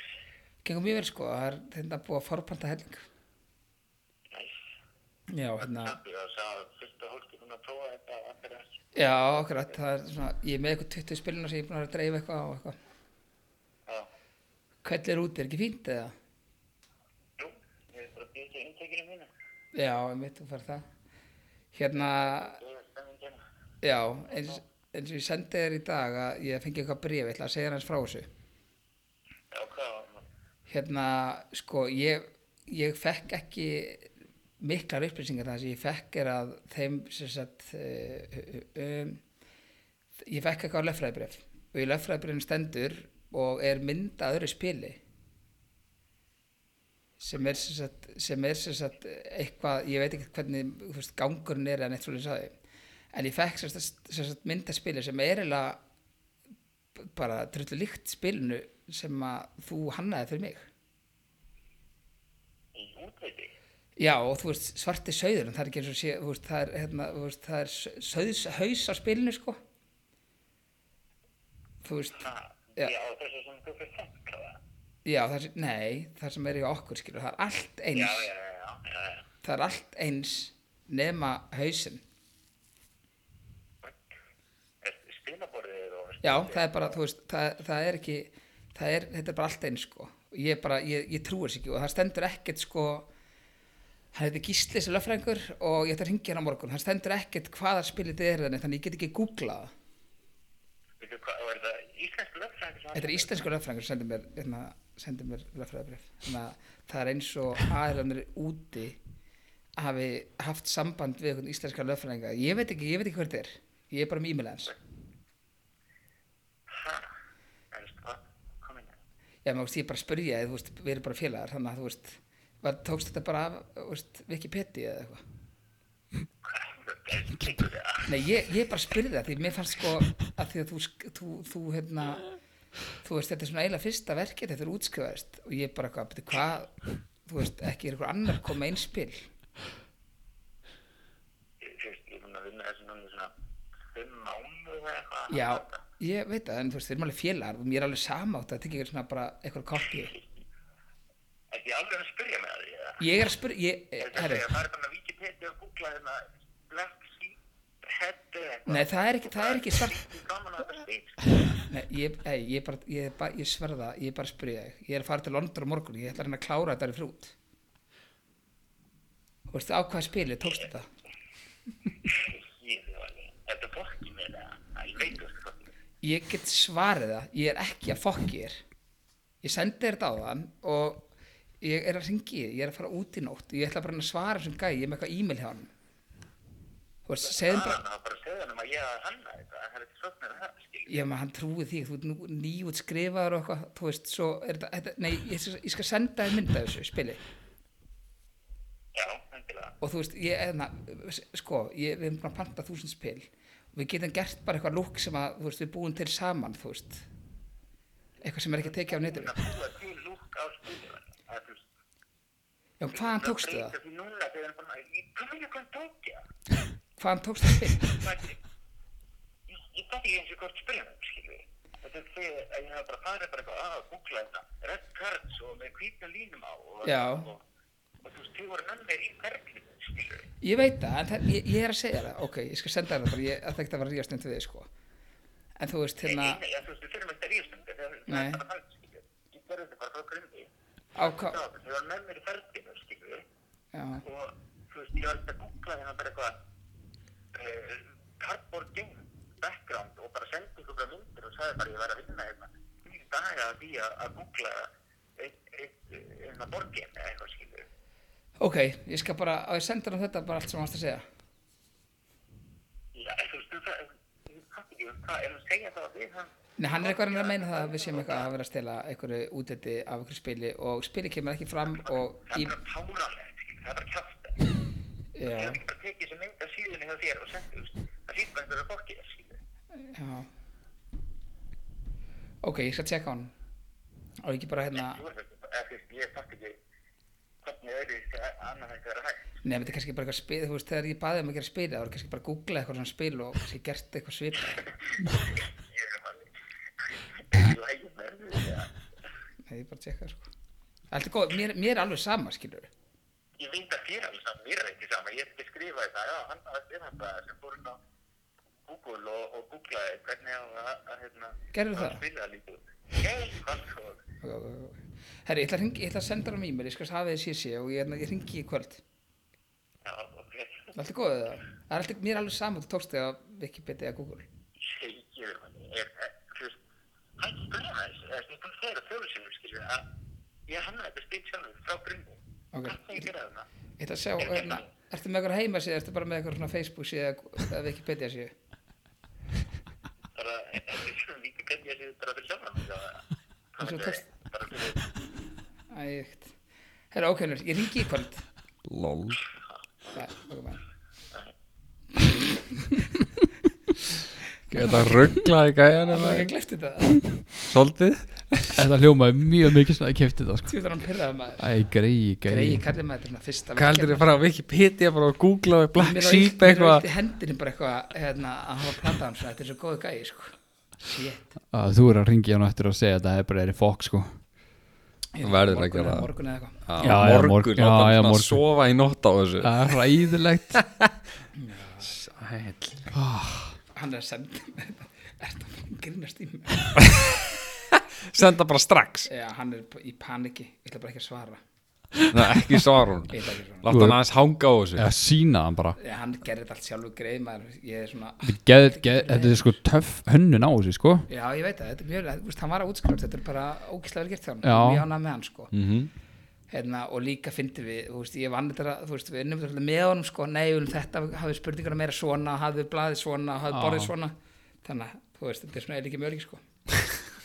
gengur mjög vel sko, það er hérna búið að forpanta helling Næs. já, hérna Það er það fyrsta hólki búin að prófa þetta akkur ekki. já, okkur, það er svona, ég er með eitthvað 20 spilina sem ég er búin að vera að dreifa eitthvað á eitthvað Já. hvernig er út, er ekki fínt eða? Jú, ég er bara að býta inntekinu mínu. já, ég veit, þú fær það hérna, Ég er stemming hérna. Já, eins, eins og ég sendi þér í dag að ég fengi eitthvað bréf, ég ætla að segja þér hans frá þessu. Já, hvað var maður? Hérna, sko, ég, ég fekk ekki miklar upplýsingar það sem ég fekk er að þeim, sem sagt, uh, um, ég fekk eitthvað löffræðbréf og í löffræðbréfinu stendur og er mynd að öðru spili sem er sem sagt, sem er sem sagt eitthvað, ég veit ekki hvernig þú veist, gangurinn er en eitt svolítið saði en ég fekk sem sagt, sem sagt myndaspili sem er eiginlega bara trullu líkt spilinu sem að þú hannaði fyrir mig Í útveiti? já og þú veist svarti sauðurinn það er ekki eins og sé, þú veist það er, hérna, þú veist, það er sauðs, haus á spilinu sko þú veist Ha, Já. Ah, já, þessu sem þú fyrir þengt, hvað? já það sem, nei, það sem er í okkur skilur það er allt eins Já, já, já, já, já, já. það er allt eins nema hausinn Er spilaborðið og... já það er bara, þú veist, það, það er ekki það er, þetta er bara allt eins sko Og ég bara, ég, ég trúi þess ekki og það stendur ekkert sko hann heiti Gísli sem löffræðingur og ég ætla að ringja hann á morgun það stendur ekkert hvaða spilið þetta er þannig þannig ég get ekki googlað það Veitu hvað, var þetta íslensk lögfræðing? Þetta er íslensku löffræðingur sem sendir mér, hérna, sendir mér löffræðabrif. Þannig að það er eins og aðeirandir úti hafi haft samband við einhvern íslenska löffræðinga. Ég veit ekki, ég veit ekki hver þetta er. Ég er bara með e-mail hans. Ha, sko, er það, komin það. Já, maður, veist, ég bara spurja, þú veist, við erum bara félagar, þannig að þú veist, var, tókst þetta bara af, þú veist, Wikipedia eða eitthvað. Nei, ég, ég bara spurði það, því mér fannst sko að því að þú, sk- þú, þú hérna, þú veist, þetta er svona eiginlega fyrsta verkið, þetta er útskrifaðist og ég bara eitthvað, "Bíddu, hvað, þú veist, ekki er einhver annar koma einspil. Ég ég- ég er búin að vinna þessu núna í svona fimm mánuð eða eitthvað. Já, Ég veit það, en þú veist, við erum alveg félagar, mér er alveg samátt að tekja ykkur svona bara eitthvað koppi. Ekki alveg að spyrja með því, eða? Ég er að spyrja, ég, eh, Þetta herri, segja, það er bara Wikipedia og googla hérna Black Sheep Head eða eitthvað. nei það er ekki, það er ekki svart, Ekki gaman að þetta sko. stýt. nei, ég, ei, ég, bara, ég, bara, ég sverða, ég er bara að spyrja þig, ég er að fara til London á morgun, ég ætla að reyna að klára þetta í frút. Þú veist, á hvaða spili tókst þetta? Þetta er fólkið með það. Það er veikur, sko. Ég get svarið það, ég er ekki að fokki þér. Ég sendi þér þetta á þann og ég er að ringi þig, ég er að fara út í nótt, ég ætla bara að svara þessum gæi, ég er með eitthvað e-mail hjá hann. Þú veist, segðum bara, Ah, Það er bara að segja hann um að ég að hanna þetta. Það er ekki svögnir að það, skil. Já, maður hann trúið því, þú ert nú nýjút skrifaður og eitthvað, þú veist, svo er þetta, þetta nei, ég, skal- ég skal senda þér mynda þessu spili Já, endilega. og þú veist, ég, eðna, sko, ég, við erum búin að panta þúsund spil og við getum gert bara eitthvað lúk sem að, þú veist, við búum til saman, þú veist, eitthvað sem er ekki tekið af neytinu. Það búa til lúk á spilinu. Það er þú- Já, hvaðan tókstu Það það? breytir því núna þegar hann bara, ég kom ekki hvað tók ég. Hvaðan tókstu það spil? Hvað- Ég ég gæti ekki eins og hvort spilja mig, skilju. Þetta er því að ég hef bara farið bara eitthvað að googla þetta. Red cards og með hvita línum á og, Já. og, og þú veist, þið voru með mér í ferlinu, skilju. Ég veit það, en það, ég, ég er að segja það, ok, ég skal senda þér það bara, ég ætla ekki að vera ríðast um til þið, sko. En þú veist, Nei, hérna, nei, já, þú veist, við þurfum ekki að ríðast um þetta, það Nei. er bara það, skilju. Ég gerði þetta bara frá grunni. á hvað, Já, þið voru með mér í ferlinu, skilju. já, Og þú veist, ég var alltaf að googla hérna bara eitthvað uh, cardboard game background og bara sendi ykkur bara myndir og sagði bara ég væri að vinna hérna. Því daga að því að að googla eitt, eitt, hérna borgin eða eitthvað skilur. ok, ég skal bara, á ég senda þér þetta bara allt sem hann að segja. Já, þú veist, þú það, ég fatt ekki um hvað, er hann að segja það að við hann? Nei, hann er eitthvað að reyna að meina það að við séum eitthvað að vera að stela einhverju útætti af einhverju spili og spili kemur ekki fram og Það í, er bara eh, táralegt, skilur, það er bara kjátt. já, Ég hef ekki bara tekið þessi mynd af síðunni hjá þér og sendið, þú veist, það sýtt bara einhverja borgin, skilur. já. Ok, ég skal tjekka hann og ekki bara hérna, Þú veist, eða, þú veist, ég fatt ekki hvernig öðru annað þetta er hægt. nefnir þetta er kannski bara eitthvað spil, þú veist, þegar ég baði um að gera spil, það voru kannski bara að googla eitthvað svona spil og kannski gert eitthvað svipað. Nei, ég bara tjekka það, sko. Alltaf góð, mér, mér er alveg sama, skilur Ég veit að þér alveg saman, mér er ekki saman, ég hef ekki skrifað þetta, já, hann var að skrifa þetta sem fór inn á Google og, og googlaði hvernig á að, að hérna, Gerðu það? spila lítið. Nei, hvað svo, Herri, ég ætla að, hringi, ég ætla að senda það um e-mail, ég skal hafa þið sísi og ég, ég ringi í kvöld. já, ok, Alltaf góð eða? Það er alltaf, mér er alveg sama, þú tókst þig á Wikipedia eða Google. segjur manni, er, er, þú veist, hann skrifa þessu, þú veist, ég kom þegar fjóru sinum, skilju, að ég hannaði þetta spil sjálfur frá grunni. Ok. Hvað það ég gera þarna? Ég ætla að sjá, hérna, ertu með eitthvað heima síðan, ertu bara með eitthvað svona Facebook síðan eða Wikipedia síðan? bara, þetta er svona líka hvernig ég sé þetta fyrir sjálfan mig, það, Eins og það er tekst- bara fyrir, Æ, ég veit. Herra, ok, Unnur, ég ringi í kvöld. Lol Það er okkur bara. Geta rugglaði gæjan um Það er það ekki gleypt þetta. Svolítið Þetta hljómaði mjög mikið svona að kefti það sko Þú þarf að pyrraða maður. Æ, greiði, Grei, greiði kallið maður þetta svona fyrsta Hvað heldur þið fara á Wikipedia bara að googla og Mér Black var Sheep illt- Mér eitthvað veit hendinni bara eitthvað hérna, að hafa plantað hann svona, þetta er svo góðu gæi sko. Shit, að Þú er að ringi hann eftir og segja að það er bara er fokk sko Ég- Verður morgun að gera eða- það. Morgun eða eitthvað Já, Já, já, morgun, morgun, láta já, já, hann morgun. svona sofa í nótt á þessu Það er ræðilegt Sæll Ah. Hann er að senda mér þetta. Ertu að fara að grínast í mig? Senda bara strax Já, hann er í paniki Ég ætla bara ekki að svara Nei, ekki svara hún Ég ætla ekki sko. að svara Láta hann aðeins hanga á þessu Eða sína hann bara Já, Eh, Hann gerði þetta allt sjálfur greið maður Ég er svona Þetta er geð- geð- þetta er sko töff hönnun á þessu sko Já, ég veit það, þetta er mjög þú veist, Hann var að útskrifast, þetta er bara ógislega vel gert hjá hann Já. Mjög ánað með hann, sko hérna, Og líka fyndi við, þú veist, ég vann þetta Þú veist, við unnum þetta með honum, sko Nei, um þetta hafði spurninguna meira svona Hafði blaðið svona, hafði borðið svona Þannig, að, þú veist, þetta er svona eða ekki mjög ekki, sko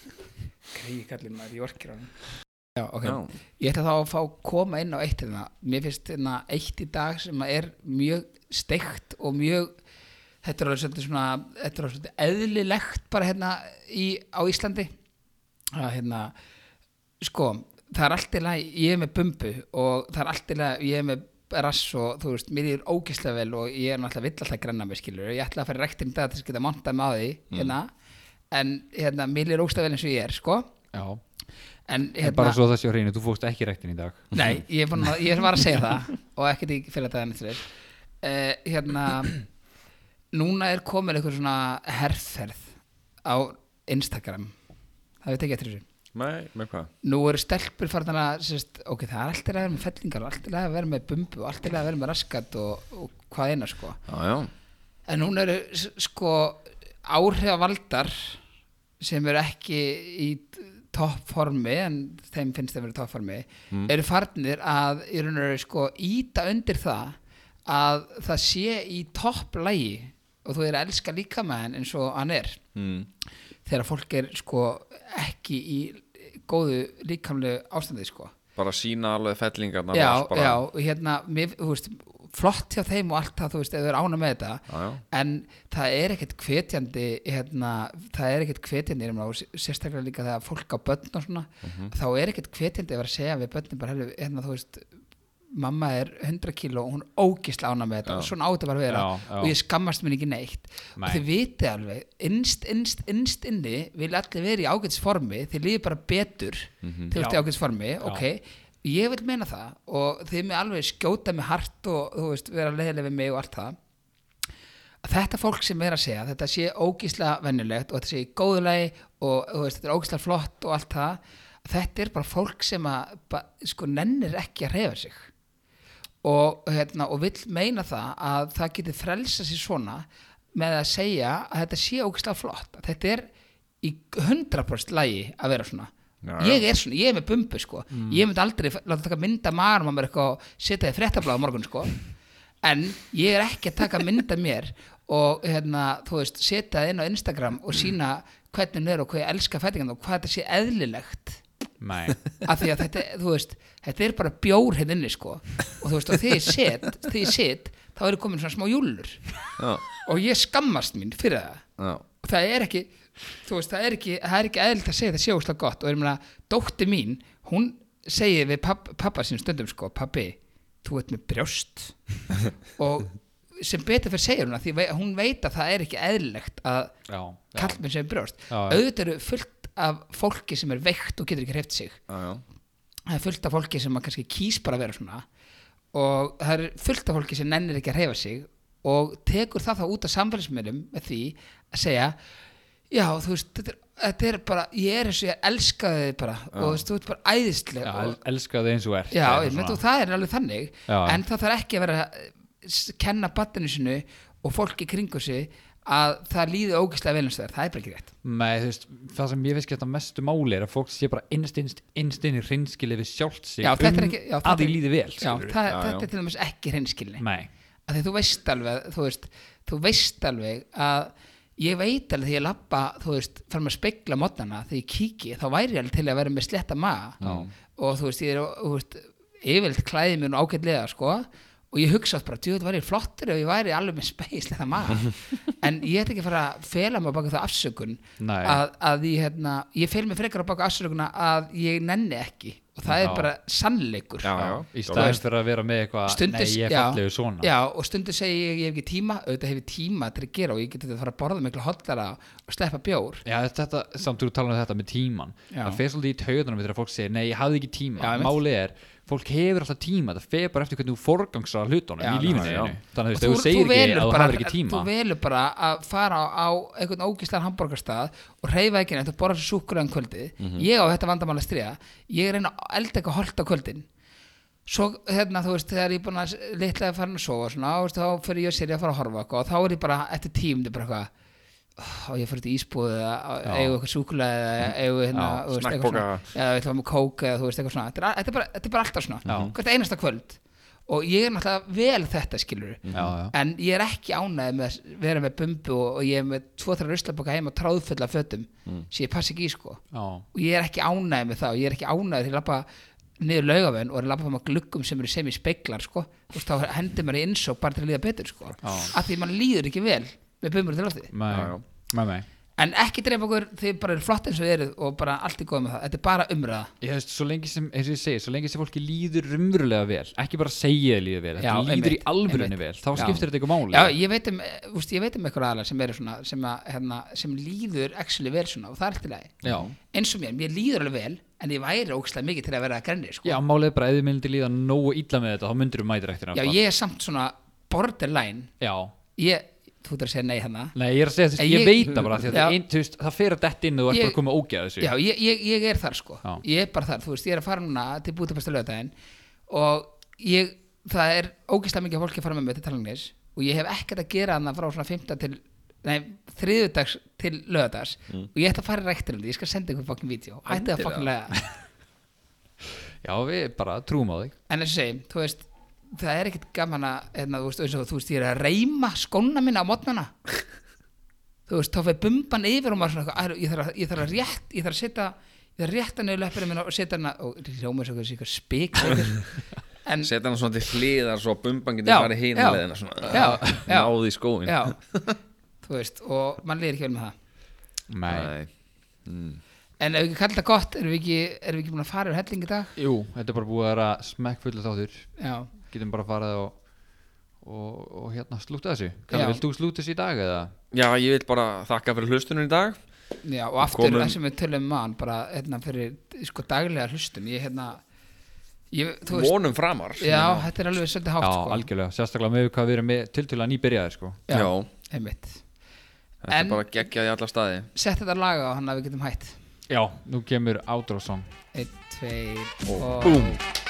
Greið kallið maður, ég orkir á hann Já, ok, Já, Ég ætla þá að fá koma inn á eitt hérna. Mér finnst hérna eitt í dag sem að er mjög steikt og mjög þetta er alveg svolítið svona þetta er alveg svolítið eðlilegt bara hérna í, á Íslandi að hérna sko, það er allt í lagi, ég er með bumbu og það er allt í lagi, ég er með rass og þú veist, mér er ógislega vel og ég er náttúrulega vill alltaf grenna mig skilur, ég ætla að fara í rektin í dag til að geta montað með á því hérna, en hérna, mér er ógsta vel eins og ég er sko. Já, en, hérna, en bara svo það sé á hreinu, þú fókst ekki rektin í dag Nei, ég, er búinn að, ég var að segja það og ekkert í fyrir þetta ennast þér uh, Hérna Núna er komin eitthvað svona herferð á Instagram Það við tekið eftir þessu Nei, með hvað? Nú eru stelpur farnar að sérst, ok, það er alltaf að vera með fellingar og alltaf að vera með bumbu og alltaf að vera með raskat og, og hvað eina sko Já, já, en núna eru s- sko áhrifavaldar sem eru ekki í toppformi en þeim finnst þeim verið toppformi Mm. eru farnir að í raun og veru sko íta undir það að það sé í topplægi og þú er að elska líka með hann eins og hann er mm. þegar fólk er sko ekki í góðu líkamlegu ástandi sko bara sína alveg fellingarna já, bara, já, og hérna mér, þú veist, flott hjá þeim og allt það þú veist, ef þau eru ána með þetta Já, já. en það er ekkert hvetjandi hérna, það er ekkert hvetjandi hérna, og sérstaklega líka þegar fólk á börn og svona, Mhm. þá er ekkert hvetjandi að vera að segja við börnum bara, heyrðu, hérna, þú veist mamma er 100 kíló og hún ógisla ána með þetta og svona átt að bara að vera Já, já. og ég skammast mér ekki neitt Nei. og þið vitið alveg, innst, innst, innst inni vil allir vera í ágætisformi þið líður bara betur mm -hmm. þið vilt í Mhm. Já. ágætisformi, ok ég vil meina það og þið með alveg skjóta mig hart og þú veist, vera leiðileg við mig og allt það þetta fólk sem er að segja þetta sé ógísla venjulegt og þetta sé í góðu lagi og þú veist, þetta er ógísla flott og allt það þetta er bara fólk sem að ba, sko nennir ekki að reyfa sig og, hérna, og vill meina það að það geti frelsa sér svona með að segja að þetta sé ógísla flott þetta er í 100% lagi að vera svona Já, Mm. já. ég er svona, ég er með bumbu sko ég myndi aldrei f- láta taka mynda maður maður eitthvað og setja þið fréttablaða morgun sko en ég er ekki að taka mynda mér og hérna, þú veist, setja það inn á Instagram Mm. og sína hvernig hún er og hvað ég elska fætingan og hvað þetta sé eðlilegt Nei, af því að þetta, þú veist, þetta er bara bjór hérna inni sko og þú veist, og þegar ég set, þegar ég set þá eru komin svona smá júlur já, og ég skammast mín fyrir það já. og það er ekki þú veist, það er ekki, það er ekki eðlilt að segja það sé óslega gott og ég meina, dótti mín hún segir við papp, pappa sín stundum sko, pappi, þú ert með brjóst og sem betur fyrir segir hún að því vei- hún veit að það er ekki eðlilegt að já, já. kallmenn sem er brjóst Já, já. auðvitað eru fullt af fólki sem er veikt og getur ekki hreift sig já, já. það er fullt af fólki sem að kannski kýs bara að vera svona og það er fullt af fólki sem nennir ekki að reyfa sig og tekur það þá út af samfélagsmiðlum með því að segja já þú veist þetta er, þetta er bara ég er eins og ég elskaði þið bara og þú veist þú ert bara æðisleg já og, el- elska þig eins og ert já Eitthvað ég meint svona. og það er alveg þannig Já. en það þarf ekki að vera að s- kenna battinu sinu og fólki kringu sig að það líði ógislega vel eins og það er það er bara ekki rétt Nei, þú veist, það sem ég veist geta mestu máli er að fólk sé bara innst, innst, innst inn í hreinskili við sjálft sig já, um þetta er ekki, já, þetta að því er- líði vel já, það, skilurðu. Já, já. þetta er til dæmis ekki hreinskilni Nei, að því þú veist alveg þú veist, þú veist alveg að ég veit alveg því ég lappa þú veist, fara með að spegla mótnana þegar ég kíki þá væri ég alveg til að vera með sletta maga og þú veist, ég er þú veist, yfirleitt klæði mér nú ágætlega sko, og ég hugsa oft bara, djúið væri ég flottur ef ég væri alveg með spegsletta maga en ég ætla ekki að fara að fela mig á baka það afsökun Nei. að, að ég, hérna, ég fel mig frekar á baka afsökunna að ég nenni ekki og það Já. er bara sannleikur Já, já. í staðins fyrir að vera með eitthvað Sko, Nei, stundis, ég er já, fallegu svona já, og stundu segi ég, ég hef ekki tíma auðvitað hef ég tíma til að gera og ég geti þetta að fara að borða miklu hotlara og sleppa bjór Já, þetta, samt þú talar um þetta með tíman Já. það fer svolítið í taugunum þegar fólk segir nei, ég hafði ekki tíma, Já, einmitt. málið er fólk hefur alltaf tíma, það fer bara eftir hvernig þú forgangsra hlutunum Já, í lífinu já, já. þínu. þannig að Og þú veist, ef þú segir ekki velur að þú bara- hafði ekki tíma þú velur bara að fara á, á einhvern ógislan hambúrgarstað og reyfa ekki neitt og borða svo súkulegan kvöldið Mhm. ég á þetta vandamál að stríða ég reyna að elda eitthvað holt á kvöldin svo hérna þú veist þegar ég er búin að litla að fara að sofa og svona, og veist, þá fyrir ég að sér að fara að horfa á eitthvað og þá er ég bara eftir tím bara eitthvað og ég fyrir til ísbúð eða eigum eitthvað súkulega eða Mhm. eigum hérna Já, þú veist, eitthvað snakkbóka. svona, eða við ætlum að kóka eða þú veist eitthvað svona þetta er, þetta er, bara, þetta er bara alltaf svona, hvert einasta kvöld og ég er náttúrulega vel þetta skilur Já, já. en ég er ekki ánægð með að vera með bumbu og, og ég er með tvo þrjá ruslaboka heima tráðfulla af fötum sem ég passi ekki í sko Já. og ég er ekki ánægð með það og ég er ekki ánægð til að lappa niður laugafönn og er að lappa fram að gluggum sem eru sem í speiklar sko. Þú veist, þá hendur maður í innsók bara til að líða betur sko. af því maður líður ekki vel með bumur til lofti Nei, Já, já. nei, nei. en ekki dreif okkur, þið bara eru flott eins og þið eruð og bara allt í góð með það, þetta er bara umræða Ég veist, svo lengi sem, eins og ég segi, svo lengi sem fólki líður raunverulega vel, ekki bara segja þið líður vel, Já, þetta líður í einmitt, alvörunni vel, einmitt. þá Já. skiptir þetta eitthvað máli. Já, ég veit um, eh, úst, ég veit um eitthvað aðlega sem eru svona sem, að, hérna, sem líður actually vel svona og það er allt í lagi Já. eins og mér, mér líður alveg vel en ég væri ógstlega mikið til að vera að grenni sko. Já, málið er bara, ef þið myndi líða nógu illa með þetta, þá myndir þú mætir eftir Já, ég er samt svona borderline Já, ég, þú ert að segja nei hérna nei, ég er að segja þess, En ég, ég- veit það bara, því að Já. það, ein, þú veist, það fer að detti inn og þú ert Ég- bara að koma ógeð þessu. Já, ég, ég, ég er þar sko Já. Ég er bara þar, þú veist, ég er að fara núna til Bútapesta lögdæðin og ég, það er ógeðslega mikið af fólki að fara með mig til talangnis og ég hef ekkert að gera hann frá svona 15 til nei, þriðudags til lögdags og ég ætla að fara í rektur um því, ég skal senda ykkur fokkin vídeo, hætti það fokkin lega Já, við bara trúum á þig. en eins og segjum, þú veist það er ekkert gaman að hérna, þú, veist, eins og, þú veist, ég er að reyma skóna minna á mótnana þú veist, þá fyrir bumban yfir og maður svona, eitthvað, "Æ, ég þarf að, ég þarf að rétt ég þarf að setja, ég þarf að rétta niður löpina minna og setja hana, og hljóma svo eitthvað spik en Setja hana svona til hliðar svo að bumban getur Já, farið hinn já, leðina svona, já, já. náði í skóin já, þú veist, og mann lýðir ekki vel með það Nei. en ef við ekki kallar þetta gott, erum við ekki erum við ekki búin að fara yfir helling í dag Jú, þetta er bara búið að vera smekkfullur þáttur, já, getum bara farið og, og, og hérna slúta þessu. Kallar, Já. vilt þú slúta þessu í dag eða? já, ég vil bara þakka fyrir hlustunum í dag já og aftur Komum- það sem við tölum mann bara, hérna, fyrir sko daglega hlustum ég, hérna, ég, þú veist vonum framar Já, þetta er alveg svolítið hátt Já, sko. algjörlega, sérstaklega með hvað við erum með tiltölu nýbyrjaðir, sko. Já. Já, Einmitt. þetta En- er bara geggjað í alla staði Sett þetta lag á hann að við getum hætt Já, nú kemur Outro Song. Einn, tveir og... Búm.